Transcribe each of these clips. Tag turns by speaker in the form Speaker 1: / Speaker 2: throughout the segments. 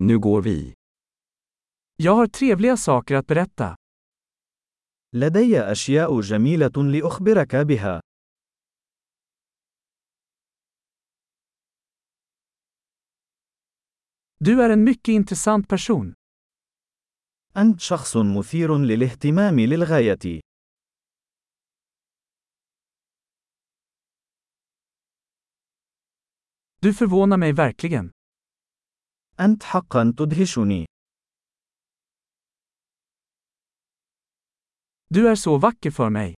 Speaker 1: Nu går vi.
Speaker 2: Jag har trevliga saker att berätta.
Speaker 3: لدي أشياء جميلة لأخبرك بها.
Speaker 2: Du är en mycket intressant person.
Speaker 3: أنت شخص مثير للاهتمام للغاية.
Speaker 2: Du förvånar mig verkligen.
Speaker 3: أنت حقا تدهشني.
Speaker 2: Du är så vacker för mig.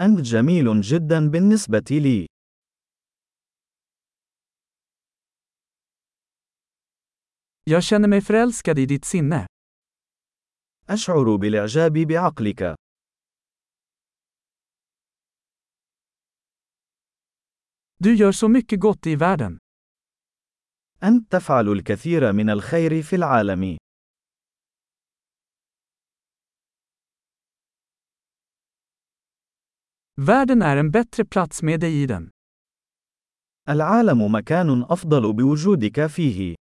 Speaker 3: أنت جميل جدا بالنسبة لي.
Speaker 2: Jag känner mig förälskad i ditt sinne.
Speaker 3: أشعر بالإعجاب بعقلك.
Speaker 2: Du gör så mycket gott i världen.
Speaker 3: أنت تفعل الكثير من الخير في العالم.
Speaker 2: Världen är en bättre plats med dig i den.
Speaker 3: العالم مكان أفضل بوجودك فيه.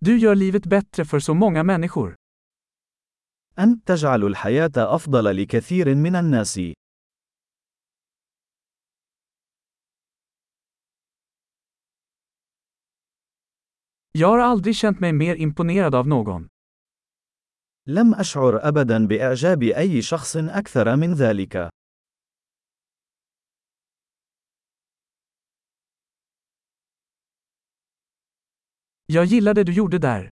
Speaker 2: Du gör livet bättre för så många människor.
Speaker 3: أنت تجعل الحياة أفضل لكثير من الناس.
Speaker 2: Jag har aldrig känt mig mer imponerad av någon.
Speaker 3: لم أشعر أبدا بإعجاب أي شخص أكثر من ذلك.
Speaker 2: Jag gillar det du gjorde där.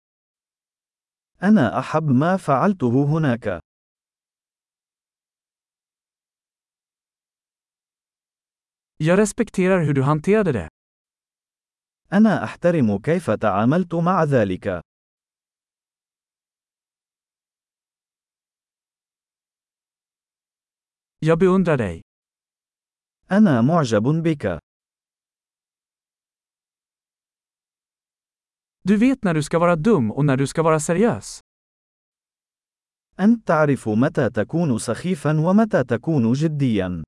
Speaker 3: أنا أحب ما فعلته هناك.
Speaker 2: Jag respekterar hur du hanterade det.
Speaker 3: أنا أحترم كيف تعاملت مع ذلك.
Speaker 2: Jag beundrar dig.
Speaker 3: أنا معجب بك.
Speaker 2: Du vet när du ska vara dum och när du ska vara seriös.
Speaker 3: أنت تعرف متى تكون سخيفا ومتى تكون جديا.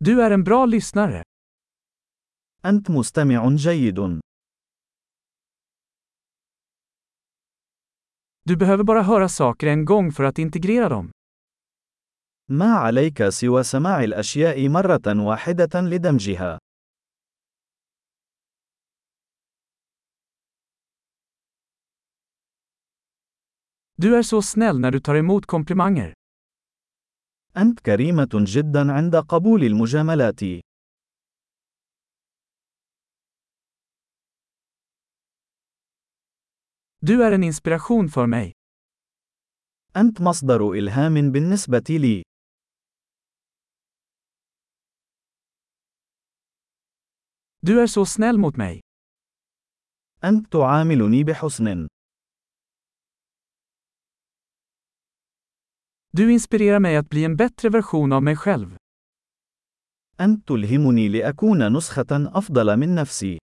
Speaker 2: Du är en bra lyssnare.
Speaker 3: أنت مستمع جيد.
Speaker 2: Du behöver bara höra saker en gång för att integrera dem.
Speaker 3: ما عليك سوى سماع الأشياء مرة واحدة لدمجها.
Speaker 2: Du är så snäll när du tar emot komplimanger.
Speaker 3: أنت كريمة جدا عند قبول المجاملات.
Speaker 2: Du är en inspiration för mig.
Speaker 3: أنت مصدر إلهام بالنسبة لي.
Speaker 2: Du är så snäll mot mig.
Speaker 3: أنت تعاملني بحسن.
Speaker 2: Du inspirerar mig att bli en bättre version av mig själv.
Speaker 3: أنت تلهمني لأكون نسخة أفضل من نفسي.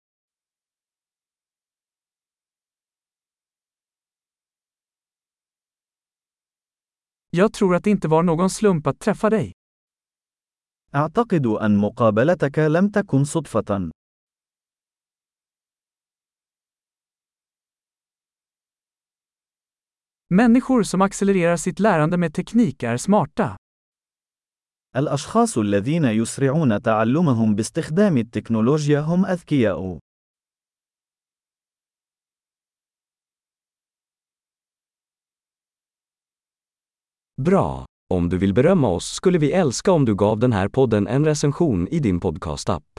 Speaker 2: Jag tror att det inte var någon slump att träffa dig.
Speaker 3: أعتقد أن مقابلتك لم تكن صدفة.
Speaker 2: Människor som accelererar sitt lärande med teknik är smarta.
Speaker 3: الأشخاص الذين يسرعون تعلمهم باستخدام التكنولوجيا هم أذكياء.
Speaker 1: Bra! Om du vill berömma oss skulle vi älska om du gav den här podden en recension i din podcastapp.